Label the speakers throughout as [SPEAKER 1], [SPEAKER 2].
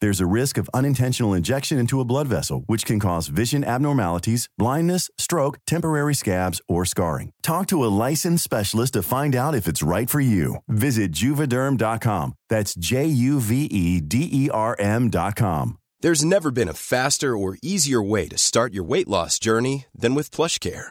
[SPEAKER 1] There's a risk of unintentional injection into a blood vessel, which can cause vision abnormalities, blindness, stroke, temporary scabs, or scarring. Talk to a licensed specialist to find out if it's right for you. Visit juvederm.com. That's J U V E D E R M.com.
[SPEAKER 2] There's never been a faster or easier way to start your weight loss journey than with PlushCare.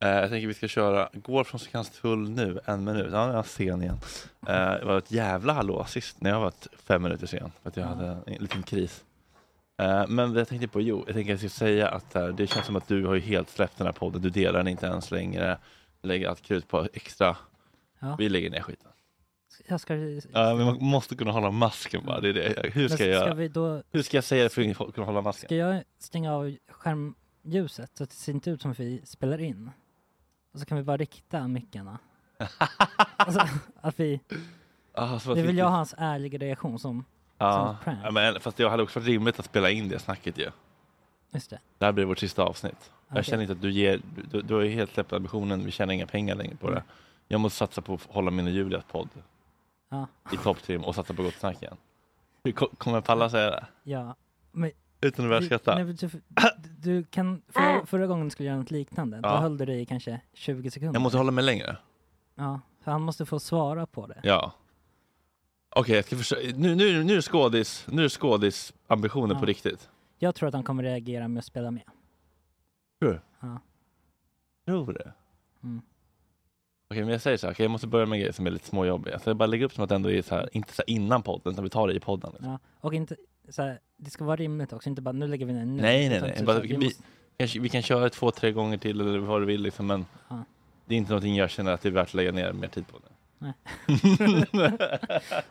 [SPEAKER 3] Eh, jag tänker vi ska köra Går från Södertörnstull nu, en minut. Ja, nu är jag sen igen. Eh, det var ett jävla hallå sist när jag var fem minuter sen. För att jag hade en liten kris. Eh, men jag tänkte på, jo, jag tänkte att jag ska säga att eh, det känns som att du har ju helt släppt den här podden. Du delar den inte ens längre. Lägger allt krut på extra.
[SPEAKER 4] Ja.
[SPEAKER 3] Vi lägger ner skiten.
[SPEAKER 4] Jag ska,
[SPEAKER 3] Ja, men man måste kunna hålla masken bara. Det är det. Hur ska jag
[SPEAKER 4] ska
[SPEAKER 3] göra?
[SPEAKER 4] vi då
[SPEAKER 3] Hur ska jag säga det för att kunna hålla masken?
[SPEAKER 4] Ska jag stänga av skärmljuset så att det ser inte ut som att vi spelar in? Och så kan vi bara rikta mickarna. alltså, att vi,
[SPEAKER 3] Ah, så
[SPEAKER 4] det vill
[SPEAKER 3] tycker-
[SPEAKER 4] jag ha hans ärliga reaktion som,
[SPEAKER 3] ja.
[SPEAKER 4] som prank.
[SPEAKER 3] ja, men fast det hade också varit rimligt att spela in det snacket ju.
[SPEAKER 4] just det.
[SPEAKER 3] Det här blir vårt sista avsnitt.
[SPEAKER 4] Okej.
[SPEAKER 3] Jag känner inte att du ger, du, du har ju helt släppt ambitionen, vi tjänar inga pengar längre på det.
[SPEAKER 4] Mm.
[SPEAKER 3] Jag måste satsa på att hålla min och Julias podd
[SPEAKER 4] Ja,
[SPEAKER 3] i topptrim och satsa på Gott Snack igen. Hur ko- Kommer Palla säga det?
[SPEAKER 4] ja. Men,
[SPEAKER 3] Utan att börja
[SPEAKER 4] du, nej,
[SPEAKER 3] skratta?
[SPEAKER 4] men du, du kan, förra, förra gången skulle jag göra något liknande. Då
[SPEAKER 3] Ja.
[SPEAKER 4] höll du dig i kanske 20 sekunder.
[SPEAKER 3] Jag måste hålla mig längre.
[SPEAKER 4] Ja, så han måste få svara på det.
[SPEAKER 3] Ja. Okej, jag ska försöka. Nu, nu, nu är skådis, nu är skådis ambitionen
[SPEAKER 4] Ja.
[SPEAKER 3] på riktigt.
[SPEAKER 4] Jag tror att han kommer reagera med att spela med.
[SPEAKER 3] Tror du det?
[SPEAKER 4] Mm.
[SPEAKER 3] Okej, men jag säger så här. Okej, jag måste börja med grejer som är lite småjobbiga. Alltså jag bara lägger upp som att det ändå är så här, inte så här innan podden, utan vi tar det i podden. Liksom.
[SPEAKER 4] Ja. Och inte, så här, det ska vara rimligt också, inte bara nu lägger vi ner nu.
[SPEAKER 3] Nej, nej,
[SPEAKER 4] Utan
[SPEAKER 3] nej.
[SPEAKER 4] typ
[SPEAKER 3] Bara,
[SPEAKER 4] så här, vi
[SPEAKER 3] vi,
[SPEAKER 4] måste-
[SPEAKER 3] kanske, vi kan köra två, tre gånger till eller vad du vill, liksom, men
[SPEAKER 4] Ja.
[SPEAKER 3] det är inte någonting jag känner att det är värt att lägga ner mer tid på. Nu.
[SPEAKER 4] Nej.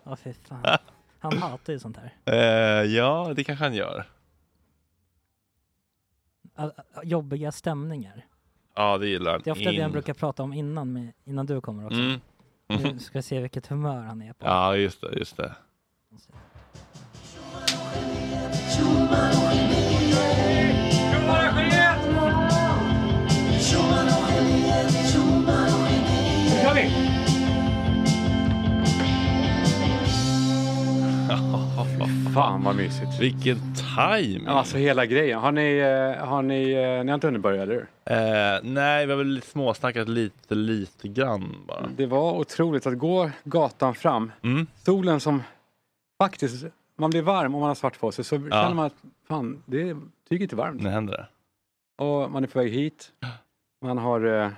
[SPEAKER 4] Ja, fy fan. Han hatar ju sånt här.
[SPEAKER 3] Eh, ja, det kanske han gör.
[SPEAKER 4] All- all- jobbiga stämningar.
[SPEAKER 3] Ja, det gillar han.
[SPEAKER 4] Det är ofta det han
[SPEAKER 3] In.
[SPEAKER 4] brukar prata om innan, med, innan du kommer också.
[SPEAKER 3] Mm.
[SPEAKER 4] Nu ska vi se vilket humör han är på.
[SPEAKER 3] Ja, just det. Just det.
[SPEAKER 5] Fan vad mysigt.
[SPEAKER 3] Vilken timing!
[SPEAKER 5] Alltså hela grejen. Har ni, eh, har ni, eh, ni har inte hunnit börja, eller hur?
[SPEAKER 3] Eh, nej, vi har väl småsnackat lite, lite grann bara.
[SPEAKER 5] Det var otroligt att gå gatan fram.
[SPEAKER 3] Mm.
[SPEAKER 5] Solen som faktiskt, man blir varm om man har svart på sig. Så känner man att fan, det är tyget inte varmt.
[SPEAKER 3] När händer det?
[SPEAKER 5] Och man är på väg hit. Man har, eh,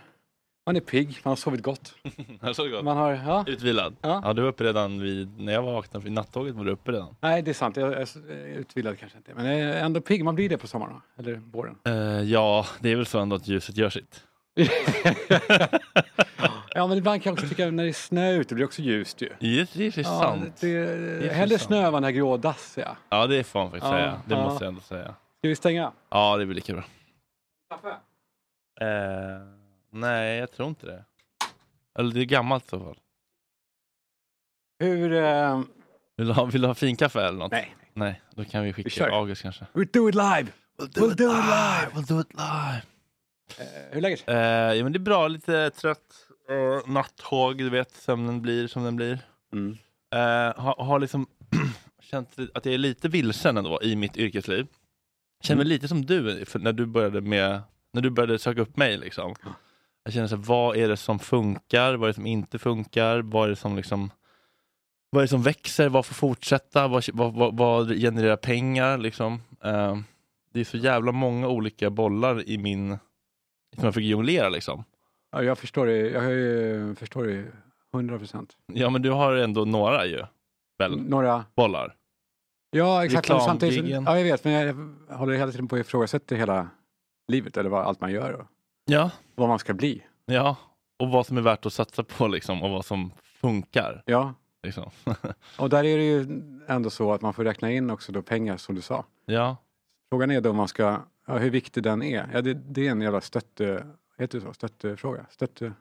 [SPEAKER 5] man är pigg, man har sovit gott.
[SPEAKER 3] Jag såg gott.
[SPEAKER 5] Man har, ja.
[SPEAKER 3] Utvilad?
[SPEAKER 5] Ja.
[SPEAKER 3] ja, du var uppe redan vid, när jag vaknade vid nattåget var du uppe redan.
[SPEAKER 5] Nej, det är sant. Jag är utvilad kanske inte. Men jag är ändå pigg. Man blir det på sommaren, va? eller våren.
[SPEAKER 3] Eh, ja, det är väl så ändå att ljuset gör sitt.
[SPEAKER 5] Ja, men ibland kan jag också tycka när det är snö ute blir det också ljust ju.
[SPEAKER 3] Just, det är
[SPEAKER 5] Ja,
[SPEAKER 3] sant.
[SPEAKER 5] Det,
[SPEAKER 3] är
[SPEAKER 5] hellre
[SPEAKER 3] sant.
[SPEAKER 5] snö än den här grådassiga.
[SPEAKER 3] Ja, det får man faktiskt
[SPEAKER 5] Ja,
[SPEAKER 3] säga. Det
[SPEAKER 5] ja.
[SPEAKER 3] måste jag ändå säga.
[SPEAKER 5] Ska vi stänga?
[SPEAKER 3] Ja, det blir lika bra.
[SPEAKER 5] Kaffe?
[SPEAKER 3] Eh, nej, jag tror inte det. Eller det är gammalt i så fall.
[SPEAKER 5] Hur... eh,
[SPEAKER 3] Vill du ha, vill du ha finkaffe eller något?
[SPEAKER 5] nej.
[SPEAKER 3] Nej, då kan vi skicka
[SPEAKER 5] Vi kör.
[SPEAKER 3] August kanske.
[SPEAKER 5] We do it live!
[SPEAKER 3] We'll
[SPEAKER 5] do We'll it do it live.
[SPEAKER 3] We'll do it live!
[SPEAKER 5] Eh, hur är läget?
[SPEAKER 3] Eh, ja, men det är bra. Lite trött. Uh, nattåg, du vet. Sömnen blir som den blir.
[SPEAKER 5] Mm.
[SPEAKER 3] Eh, har har liksom känt li- att jag är lite vilsen ändå i mitt yrkesliv. Känner mig lite som du för när du började med, när du började söka upp mig liksom. Jag känner så här, vad är det som funkar? Vad är det som inte funkar? Vad är det som liksom vad är det som växer? Vad får fortsätta? Vad, vad, vad, vad genererar pengar? Liksom. Eh, det är så jävla många olika bollar i min... Som jag fick jonglera liksom.
[SPEAKER 5] Ja, jag förstår det. Jag har ju- förstår det ju 100 procent.
[SPEAKER 3] Ja men du har ändå några ju. Väl?
[SPEAKER 5] Några...
[SPEAKER 3] Bollar.
[SPEAKER 5] Ja, exakt. men Samtidigt, så-
[SPEAKER 3] Reklamgiggen.
[SPEAKER 5] ja, jag vet. Men jag håller hela tiden på att ifrågasätta hela livet eller vad allt man gör och
[SPEAKER 3] Ja.
[SPEAKER 5] vad man ska bli.
[SPEAKER 3] Ja. Och vad som är värt att satsa på liksom. Och vad som funkar.
[SPEAKER 5] Ja,
[SPEAKER 3] Liksom.
[SPEAKER 5] och där är det ju ändå så att man får räkna in också då pengar som du sa.
[SPEAKER 3] ja.
[SPEAKER 5] Frågan är då om man ska, ja, hur viktig den är. Ja, det, det är en jävla stötte, heter det så? Stöttefråga? Stötte,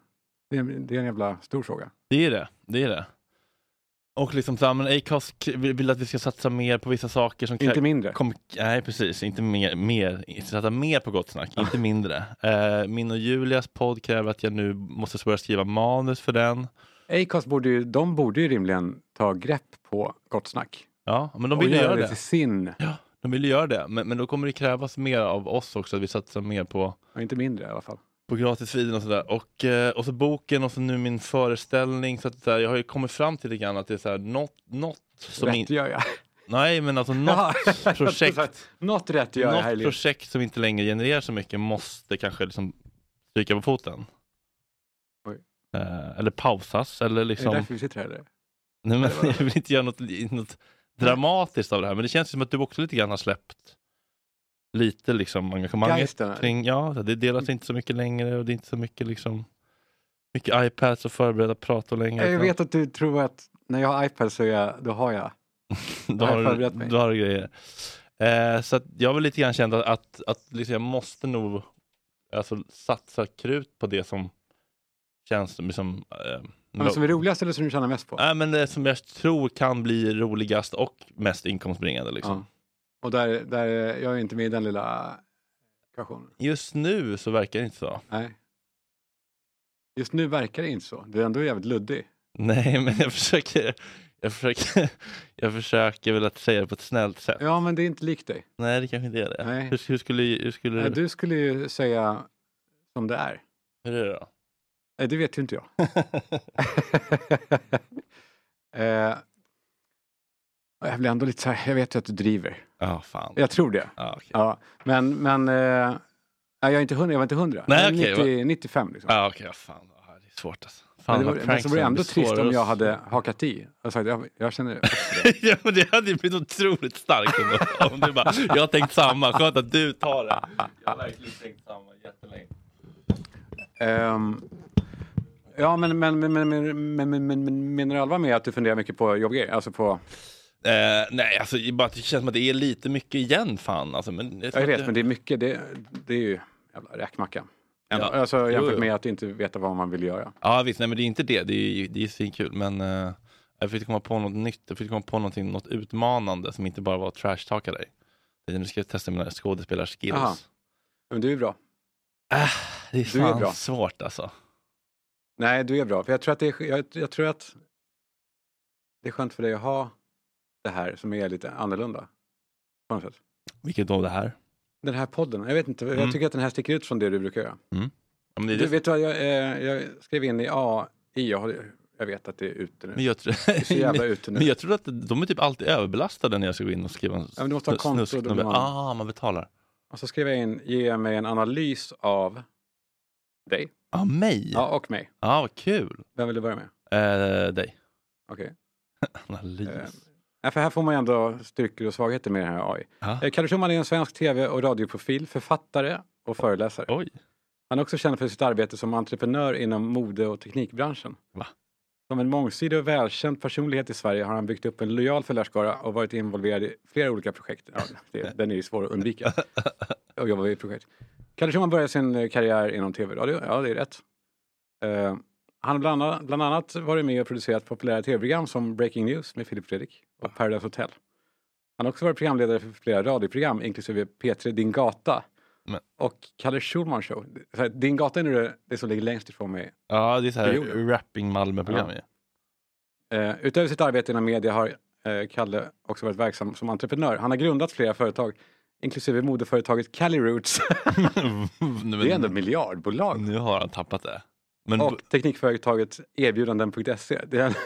[SPEAKER 5] det, är, en- det är en jävla stor fråga.
[SPEAKER 3] Det är det. Det är det. Och liksom så här, men Acast k- vill vill att vi ska satsa mer på vissa saker som krä-
[SPEAKER 5] Inte mindre.
[SPEAKER 3] Kom, nej, precis. Inte mer. mer sätta mer på gott snack,
[SPEAKER 5] Ah.
[SPEAKER 3] inte mindre. Eh, min och Julias podd kräver att jag nu måste börja skriva manus för den.
[SPEAKER 5] Acast borde ju, de borde ju rimligen ta grepp på Gott Snack.
[SPEAKER 3] Ja, men de
[SPEAKER 5] och
[SPEAKER 3] vill ju
[SPEAKER 5] göra
[SPEAKER 3] göra
[SPEAKER 5] det
[SPEAKER 3] det.
[SPEAKER 5] till sin,
[SPEAKER 3] De vill ju göra det, men, men då kommer det krävas mer av oss också, att vi satsar mer på,
[SPEAKER 5] och inte mindre i alla fall.
[SPEAKER 3] på gratisfiden och sådär. Och, eh, och så boken och så nu min föreställning. Så att, så här, jag har ju kommit fram till lite grann att det är så här, något, något som...
[SPEAKER 5] rätt
[SPEAKER 3] in-
[SPEAKER 5] gör jag.
[SPEAKER 3] nej, men alltså något
[SPEAKER 5] Jaha.
[SPEAKER 3] projekt
[SPEAKER 5] Något rätt gör jag här i
[SPEAKER 3] Något
[SPEAKER 5] livet.
[SPEAKER 3] projekt som inte längre genererar så mycket måste kanske liksom stryka på foten.
[SPEAKER 5] Oj.
[SPEAKER 3] Eh, eller pausas. Eller
[SPEAKER 5] Är det
[SPEAKER 3] liksom,
[SPEAKER 5] därför vi sitter här eller?
[SPEAKER 3] nej, men jag vill inte göra något, något dramatiskt av det här, men det känns som att du också lite grann har släppt lite liksom engagemanget.
[SPEAKER 5] Geisten.
[SPEAKER 3] Kring, ja, det delas inte så mycket längre och det är inte så mycket liksom mycket iPads och förberedda prat och längre.
[SPEAKER 5] Jag vet att du tror att när jag har iPad så är jag, då har jag.
[SPEAKER 3] då
[SPEAKER 5] jag har
[SPEAKER 3] har, du-
[SPEAKER 5] förberett mig.
[SPEAKER 3] då har du grejer. Eh, så att jag vill lite grann känna att, att liksom jag måste nog alltså, satsa krut på det som känns liksom, eh,
[SPEAKER 5] Men som är roligast eller som du tjänar mest på?
[SPEAKER 3] Nej, men det som jag tror kan bli roligast och mest inkomstbringande. Liksom.
[SPEAKER 5] Ja. Och där, där, jag är inte med i den lilla ekvationen.
[SPEAKER 3] Just nu så verkar det inte så.
[SPEAKER 5] Nej. Just nu verkar det inte så. Du är ändå jävligt luddig.
[SPEAKER 3] Nej, men jag försöker, jag försöker, jag försöker väl att säga det på ett snällt sätt.
[SPEAKER 5] Ja, men det är inte likt dig.
[SPEAKER 3] Nej, det kanske inte är det.
[SPEAKER 5] Nej.
[SPEAKER 3] Hur, hur skulle, hur skulle
[SPEAKER 5] Nej,
[SPEAKER 3] du...
[SPEAKER 5] Du skulle ju säga som det är.
[SPEAKER 3] Hur är det då?
[SPEAKER 5] Nej, det vet ju inte jag. eh, jag blir ändå lite så här, jag vet ju att du driver.
[SPEAKER 3] Ja, fan.
[SPEAKER 5] Jag tror det.
[SPEAKER 3] Ja, okej.
[SPEAKER 5] Ja, men, men eh, nej, jag, är inte hundra, jag var inte hundra.
[SPEAKER 3] Nej,
[SPEAKER 5] jag är
[SPEAKER 3] okej,
[SPEAKER 5] 90, 95 liksom.
[SPEAKER 3] Ja ah, okej, fan. Ah, det är svårt alltså. Fan,
[SPEAKER 5] men det
[SPEAKER 3] vad
[SPEAKER 5] vore, men
[SPEAKER 3] pranks
[SPEAKER 5] så vore det
[SPEAKER 3] jag
[SPEAKER 5] ändå
[SPEAKER 3] blir
[SPEAKER 5] trist om
[SPEAKER 3] Soros.
[SPEAKER 5] jag hade hakat i. Jag, sagt, jag, jag känner
[SPEAKER 3] ja, men det hade ju blivit otroligt starkt ändå. om du bara, jag har tänkt samma, skönt att du tar det. Jag har verkligen tänkt samma jättelänge.
[SPEAKER 5] Ehm, ja, men, men, men, men, men, men, men, men menar du allvar med att du funderar mycket på jobbgrejer? Alltså på,
[SPEAKER 3] Eh, nej, alltså det är bara att det känns som att det är lite mycket igen fan. Alltså, men, det är som att
[SPEAKER 5] jag vet,
[SPEAKER 3] det-
[SPEAKER 5] men det är mycket, det, det är ju jävla räkmacka. Ändå.
[SPEAKER 3] Ja.
[SPEAKER 5] Alltså,
[SPEAKER 3] Jo,
[SPEAKER 5] jämfört
[SPEAKER 3] jo.
[SPEAKER 5] med att inte veta vad man vill göra.
[SPEAKER 3] Ja visst, nej men det är inte det. Det är ju det är svinkul. Men eh, jag fick komma på något nytt. Jag fick komma på någonting, något utmanande som inte bara var att trashtalka dig. Det är- Nu ska jag testa mina skådespelarskills.
[SPEAKER 5] Aha. Men du är bra.
[SPEAKER 3] Det är
[SPEAKER 5] Du är
[SPEAKER 3] fan
[SPEAKER 5] bra.
[SPEAKER 3] svårt alltså.
[SPEAKER 5] Nej, du är bra. För jag tror att det är, jag, jag tror att det är skönt för dig att ha det här som är lite annorlunda. På något sätt.
[SPEAKER 3] Vilket då det här?
[SPEAKER 5] Den här podden, jag vet inte,
[SPEAKER 3] Mm.
[SPEAKER 5] jag tycker att den här sticker ut från det du brukar göra.
[SPEAKER 3] Ja, men det är
[SPEAKER 5] Du,
[SPEAKER 3] det.
[SPEAKER 5] vet du vad, jag, eh, jag skrev in i AI, jag, har- jag vet att det är ute nu.
[SPEAKER 3] Men jag, tror...
[SPEAKER 5] Det är så jävla ute nu.
[SPEAKER 3] men jag tror att de är typ alltid överbelastade när jag ska gå in och skriva en
[SPEAKER 5] Ja, men du måste ha
[SPEAKER 3] snu-
[SPEAKER 5] konto, då
[SPEAKER 3] snusknubbe.
[SPEAKER 5] blir man-
[SPEAKER 3] Ah, man betalar.
[SPEAKER 5] Och så skrev jag in, ge mig en analys av dig.
[SPEAKER 3] Ah, mig? Ja,
[SPEAKER 5] Ja, och mig.
[SPEAKER 3] ah, vad kul.
[SPEAKER 5] Vem vill du börja med?
[SPEAKER 3] Eh, dig.
[SPEAKER 5] Okej.
[SPEAKER 3] Analys.
[SPEAKER 5] Eh, Ja, för här får man ju ändå styrkor och svagheter med den här AI.
[SPEAKER 3] Ah,
[SPEAKER 5] Eh, Kalle Schulman är en svensk tv och radioprofil, författare och föreläsare.
[SPEAKER 3] oj.
[SPEAKER 5] Han är också känd för sitt arbete som entreprenör inom mode och teknikbranschen.
[SPEAKER 3] Va?
[SPEAKER 5] Som en mångsidig och välkänd personlighet i Sverige har han byggt upp en lojal följarskara och varit involverad i flera olika projekt. Ja, det, den är ju svår att undvika. Och jobba i projekt. Kalle Schulman började sin eh, karriär inom tv-radio. Ja, det är rätt. Eh, han har bland annat, bland annat varit med och producerat populära tv-program som Breaking News med Filip Fredrik och Paradise Hotel. Han har också varit programledare för flera radioprogram, inklusive P3 Din Gata
[SPEAKER 3] Men-
[SPEAKER 5] och Kalle Schulman Show. Så här, Din Gata är nu det, det som ligger längst ifrån mig.
[SPEAKER 3] Ja, det är så här
[SPEAKER 5] Perioder.
[SPEAKER 3] rapping Malmö-program ju.
[SPEAKER 5] Eh, utöver sitt arbete inom media har eh, Kalle också varit verksam som entreprenör. Han har grundat flera företag, inklusive modeföretaget Cali Roots.
[SPEAKER 3] nu,
[SPEAKER 5] Det är ändå ett miljardbolag.
[SPEAKER 3] nu har han tappat det. Men
[SPEAKER 5] Och teknikföretaget erbjudanden.se. Det är...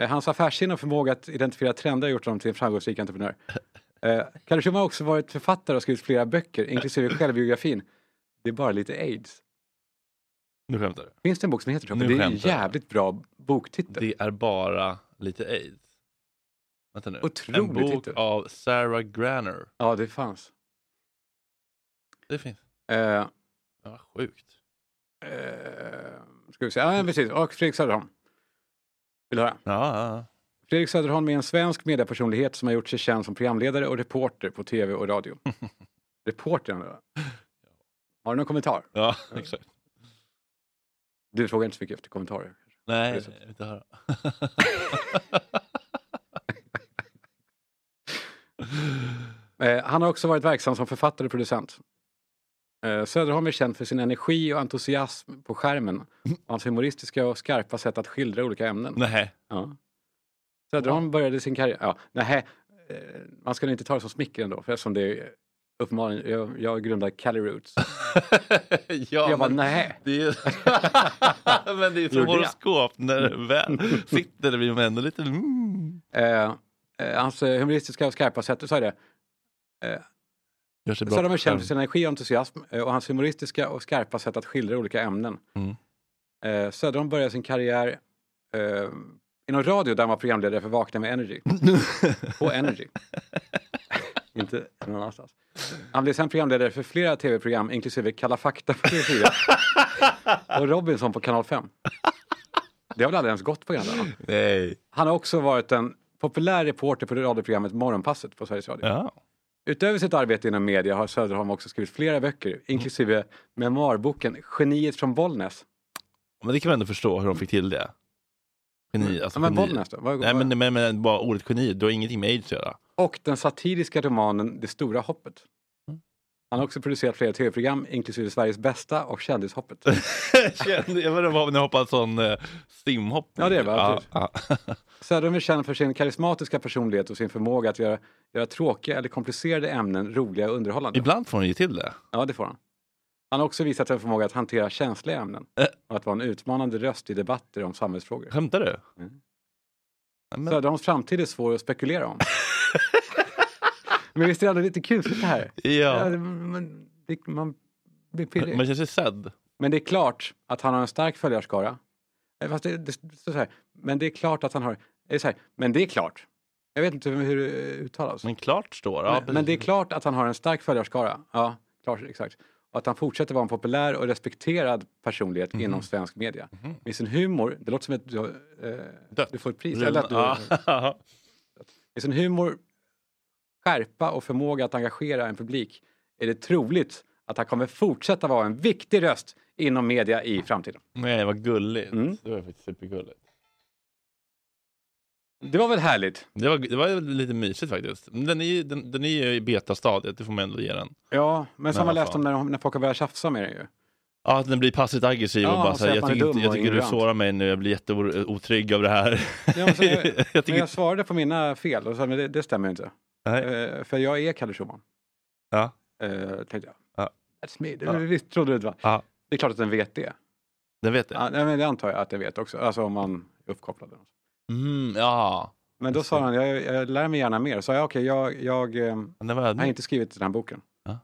[SPEAKER 5] Eh, Hans affärssinne och förmåga att identifiera trender har gjort honom till en framgångsrik entreprenör. Eh, Kalle Schumann har också varit författare och skrivit flera böcker, inklusive självbiografin. Det är bara lite aids.
[SPEAKER 3] nu skämtar du.
[SPEAKER 5] Finns det en bok som heter så?
[SPEAKER 3] Nu
[SPEAKER 5] För Det är en
[SPEAKER 3] skämtar jag.
[SPEAKER 5] jävligt bra boktitel.
[SPEAKER 3] Det är bara lite aids. Vänta nu. en
[SPEAKER 5] Otrolig
[SPEAKER 3] bok
[SPEAKER 5] titel.
[SPEAKER 3] av Sarah Granner.
[SPEAKER 5] Ja, det fanns.
[SPEAKER 3] Det finns.
[SPEAKER 5] Eh, eh,
[SPEAKER 3] Ja, sjukt.
[SPEAKER 5] ska vi se. Ja, precis. Och Fredrik Söderholm. Vill du höra?
[SPEAKER 3] Ja, ja, ja.
[SPEAKER 5] Fredrik Söderholm är en svensk mediepersonlighet som har gjort sig känd som programledare och reporter på tv och radio. reporter, ändå. Har du någon kommentar?
[SPEAKER 3] ja exakt.
[SPEAKER 5] Du frågar inte så mycket efter kommentarer.
[SPEAKER 3] Nej,
[SPEAKER 5] Precis.
[SPEAKER 3] jag vill inte höra.
[SPEAKER 5] Eh, han har också varit verksam som författare och producent. Eh, Söderholm är känd för sin energi och entusiasm på skärmen och hans humoristiska och skarpa sätt att skildra olika ämnen.
[SPEAKER 3] Nej.
[SPEAKER 5] Ja. Söderholm började sin karriär... Ja, nej, eh, man ska nog inte ta det som smicker ändå, för eftersom det är uppenbarligen... Jag, jag grundade Cali Roots.
[SPEAKER 3] ja,
[SPEAKER 5] jag bara,
[SPEAKER 3] men-
[SPEAKER 5] nej.
[SPEAKER 3] Det är, men det är som
[SPEAKER 5] Gjorde jag? Mm.
[SPEAKER 3] horoskop när du väl sitter där blir man ändå lite... Mm.
[SPEAKER 5] Eh, eh, hans eh, humoristiska och skarpa sätt, du sa det.
[SPEAKER 3] Gör sig bra
[SPEAKER 5] Söderholm
[SPEAKER 3] på
[SPEAKER 5] är känd för
[SPEAKER 3] skärmen.
[SPEAKER 5] sin energi och entusiasm eh, och hans humoristiska och skarpa sätt att skildra olika ämnen.
[SPEAKER 3] Mm.
[SPEAKER 5] Eh, Söderholm började sin karriär eh, inom radio där han var programledare för Vakna med Energy. På Energy. Inte någon annanstans. Han blev sen programledare för flera tv-program inklusive Kalla fakta på TV4 och Robinson på Kanal 5. Det har väl aldrig ens gått på programmet?
[SPEAKER 3] Nej.
[SPEAKER 5] Han har också varit en populär reporter på radioprogrammet Morgonpasset på Sveriges Radio.
[SPEAKER 3] Ja.
[SPEAKER 5] Utöver sitt arbete inom media har Söderholm också skrivit flera böcker, inklusive memoarboken Geniet från Bollnäs.
[SPEAKER 3] Men det kan man ändå förstå hur de fick till det. Geni, alltså
[SPEAKER 5] Mm. ja, men
[SPEAKER 3] geni.
[SPEAKER 5] Bollnäs då? Vad-
[SPEAKER 3] Nej,
[SPEAKER 5] vad-
[SPEAKER 3] men, men, men bara ordet geni, du har ingenting med aids att göra.
[SPEAKER 5] Och den satiriska romanen Det stora hoppet. Han har också producerat flera tv-program, inklusive Sveriges bästa och Kändishoppet.
[SPEAKER 3] Kände- jag vet inte vad ni hoppade sån eh, simhopp.
[SPEAKER 5] Ja, det är typ. bra, precis.
[SPEAKER 3] ja.
[SPEAKER 5] Söderholm är känd för sin karismatiska personlighet och sin förmåga att göra, göra tråkiga eller komplicerade ämnen roliga och underhållande.
[SPEAKER 3] Ibland får ni ju till det.
[SPEAKER 5] Ja, det får han. Han har också visat en förmåga att hantera känsliga ämnen
[SPEAKER 3] Eh.
[SPEAKER 5] och att vara en utmanande röst i debatter om samhällsfrågor.
[SPEAKER 3] Skämtar du?
[SPEAKER 5] Mm.
[SPEAKER 3] Nej, men,
[SPEAKER 5] Söderholms framtid är svår att spekulera om. men visst är det ändå lite kusligt det här? Ja,
[SPEAKER 3] ja.
[SPEAKER 5] det- men det, man blir pirrig.
[SPEAKER 3] Man känner sig sedd.
[SPEAKER 5] Men det är klart att han har en stark följarskara. Eh, Fast det, det står så här, men det är klart att han har... Det är så här, men det är klart. Jag vet inte hur det eh, uttalas.
[SPEAKER 3] Men klart står ja,
[SPEAKER 5] Men- men det är
[SPEAKER 3] precis.
[SPEAKER 5] klart att han har en stark följarskara. Ja, klart, exakt. Och att han fortsätter vara en populär och respekterad personlighet
[SPEAKER 3] Mhm.
[SPEAKER 5] inom svensk media. Med sin humor, det låter som att du, har, eh,
[SPEAKER 3] Dött.
[SPEAKER 5] du får ett pris. Eller att du,
[SPEAKER 3] Ja.
[SPEAKER 5] Med sin humor, skärpa och förmåga att engagera en publik är det troligt att han kommer fortsätta vara en viktig röst inom media i framtiden.
[SPEAKER 3] Nej, vad gulligt.
[SPEAKER 5] Mm.
[SPEAKER 3] Det var faktiskt supergulligt.
[SPEAKER 5] Det var väl härligt?
[SPEAKER 3] Det var, det var lite mysigt faktiskt. Men Den är, ju- den, den är ju i betastadiet, det får man ändå ge den.
[SPEAKER 5] Ja, men som
[SPEAKER 3] vad
[SPEAKER 5] man läst
[SPEAKER 3] fan.
[SPEAKER 5] om när, de- när folk har börjat tjafsa med den ju.
[SPEAKER 3] Ja, att den blir passivt aggressiv
[SPEAKER 5] Ja,
[SPEAKER 3] och bara
[SPEAKER 5] och
[SPEAKER 3] så här,
[SPEAKER 5] säger
[SPEAKER 3] jag
[SPEAKER 5] att man är
[SPEAKER 3] tycker,
[SPEAKER 5] dum
[SPEAKER 3] inte, jag
[SPEAKER 5] och
[SPEAKER 3] tycker du
[SPEAKER 5] ignorant."
[SPEAKER 3] sårar mig nu, jag blir jätteotrygg av det här.
[SPEAKER 5] Ja, men så-
[SPEAKER 3] jag
[SPEAKER 5] Men
[SPEAKER 3] tycker...
[SPEAKER 5] jag svarade på mina fel och sa men det, det stämmer ju inte.
[SPEAKER 3] Nej.
[SPEAKER 5] Eh, för jag är Kalle Schumann.
[SPEAKER 3] Ja.
[SPEAKER 5] Eh, tänkte jag.
[SPEAKER 3] Ja.
[SPEAKER 5] That's me. Det,
[SPEAKER 3] Ja.
[SPEAKER 5] Visst trodde du det va?
[SPEAKER 3] Ja.
[SPEAKER 5] Det är klart att den vet det.
[SPEAKER 3] Den vet jag.
[SPEAKER 5] Ja, nej, men det antar jag att den vet också. Alltså om man är uppkopplad. eller något.
[SPEAKER 3] Mm, ja,
[SPEAKER 5] Men då
[SPEAKER 3] Just
[SPEAKER 5] sa
[SPEAKER 3] det.
[SPEAKER 5] han, jag, jag lär mig gärna mer. Så jag, okej, jag, jag ehm,
[SPEAKER 3] den var
[SPEAKER 5] Jag har
[SPEAKER 3] ödmjuk.
[SPEAKER 5] inte skrivit den här boken.
[SPEAKER 3] Mm.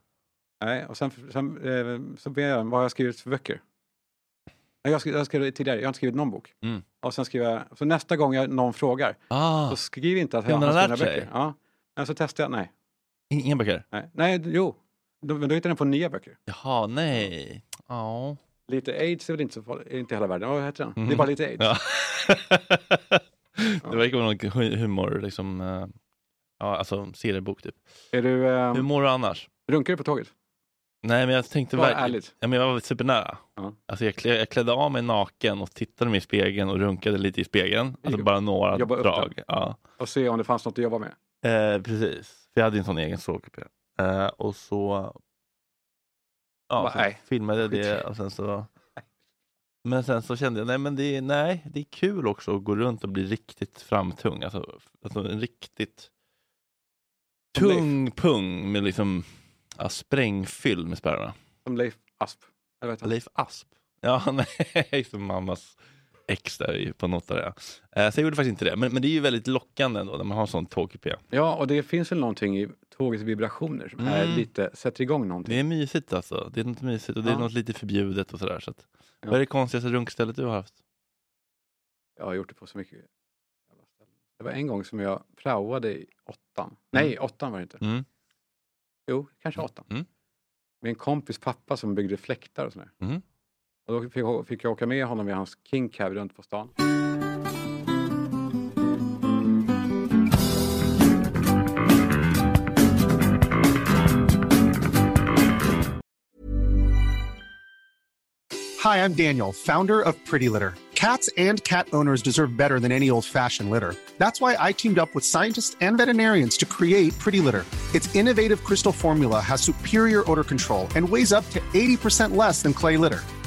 [SPEAKER 3] Ja.
[SPEAKER 5] Nej, och sen, sen eh, så ber jag om, vad har jag skrivit för böcker? Nej, Jag skrev, jag skrev tidigare, jag har inte skrivit någon bok.
[SPEAKER 3] Mm.
[SPEAKER 5] Och sen skriver jag, så nästa gång jag, någon frågar,
[SPEAKER 3] Ah,
[SPEAKER 5] så skriv inte att jag
[SPEAKER 3] Kunde
[SPEAKER 5] har
[SPEAKER 3] han
[SPEAKER 5] skrivit några
[SPEAKER 3] lärt sig?
[SPEAKER 5] böcker. Ja. Men så testade jag, nej.
[SPEAKER 3] inga böcker?
[SPEAKER 5] Nej, nej jo. Då, men då hittade den på nya böcker.
[SPEAKER 3] Jaha, nej. Ja.
[SPEAKER 5] Lite aids är väl inte så farligt, är inte hela världen. Vad heter den?
[SPEAKER 3] Mm.
[SPEAKER 5] Det är bara lite aids.
[SPEAKER 3] Ja. det verkar vara någon hu- humor, liksom. eh, Ja, alltså seriebok typ.
[SPEAKER 5] Är du, eh,
[SPEAKER 3] Hur mår du annars?
[SPEAKER 5] runkar du på tåget?
[SPEAKER 3] Nej, men jag tänkte
[SPEAKER 5] Bara
[SPEAKER 3] verkligen...
[SPEAKER 5] ärligt.
[SPEAKER 3] Ja, men jag var supernära.
[SPEAKER 5] Ja.
[SPEAKER 3] Alltså, jag, klä, jag klädde av mig naken och tittade mig i spegeln och runkade lite i spegeln. Alltså
[SPEAKER 5] Jobba-
[SPEAKER 3] bara några
[SPEAKER 5] jobba upp
[SPEAKER 3] drag. Ja.
[SPEAKER 5] Och se om det fanns något att jobba med.
[SPEAKER 3] Eh, precis, för jag hade ju en sån egen strålkupé. Eh, och så... Ja,
[SPEAKER 5] Bara,
[SPEAKER 3] så
[SPEAKER 5] nej.
[SPEAKER 3] filmade jag
[SPEAKER 5] Skit.
[SPEAKER 3] det och sen så... Men sen så kände jag, nej men det är, nej, det är kul också att gå runt och bli riktigt framtung. Alltså, alltså en riktigt
[SPEAKER 5] Som
[SPEAKER 3] tung pung med liksom ja, sprängfylld med sperma.
[SPEAKER 5] Som Leif Asp. Eller vad heter han?
[SPEAKER 3] Leif Asp. Ja, nej, som mammas ex där ju på något av det. Eh, Så jag gjorde faktiskt inte det. Men, men det är ju väldigt lockande ändå när man har en sån tråkig p.
[SPEAKER 5] Ja, och det finns väl någonting i tågets vibrationer som är
[SPEAKER 3] Mm.
[SPEAKER 5] lite, sätter igång någonting.
[SPEAKER 3] Det är mysigt alltså. Det är något mysigt och det är
[SPEAKER 5] Ja.
[SPEAKER 3] något lite förbjudet och sådär. Så att,
[SPEAKER 5] Ja.
[SPEAKER 3] Vad är det konstigaste runkstället du har haft?
[SPEAKER 5] Jag har gjort det på så mycket jävla ställen. Det var en gång som jag praoade i åttan. Nej, åttan var det inte.
[SPEAKER 3] Mm.
[SPEAKER 5] Jo, kanske åttan.
[SPEAKER 3] Mm.
[SPEAKER 5] Med en kompis pappa som byggde fläktar och sådär.
[SPEAKER 3] Mm.
[SPEAKER 5] Och då fick jag, fick jag åka med honom i hans king cab runt på stan.
[SPEAKER 6] Hi, I'm Daniel, founder of Pretty Litter. Cats and cat owners deserve better than any old fashioned litter. That's why I teamed up with scientists and veterinarians to create Pretty Litter. Its innovative crystal formula has superior odor control and weighs up to 80% less than clay litter.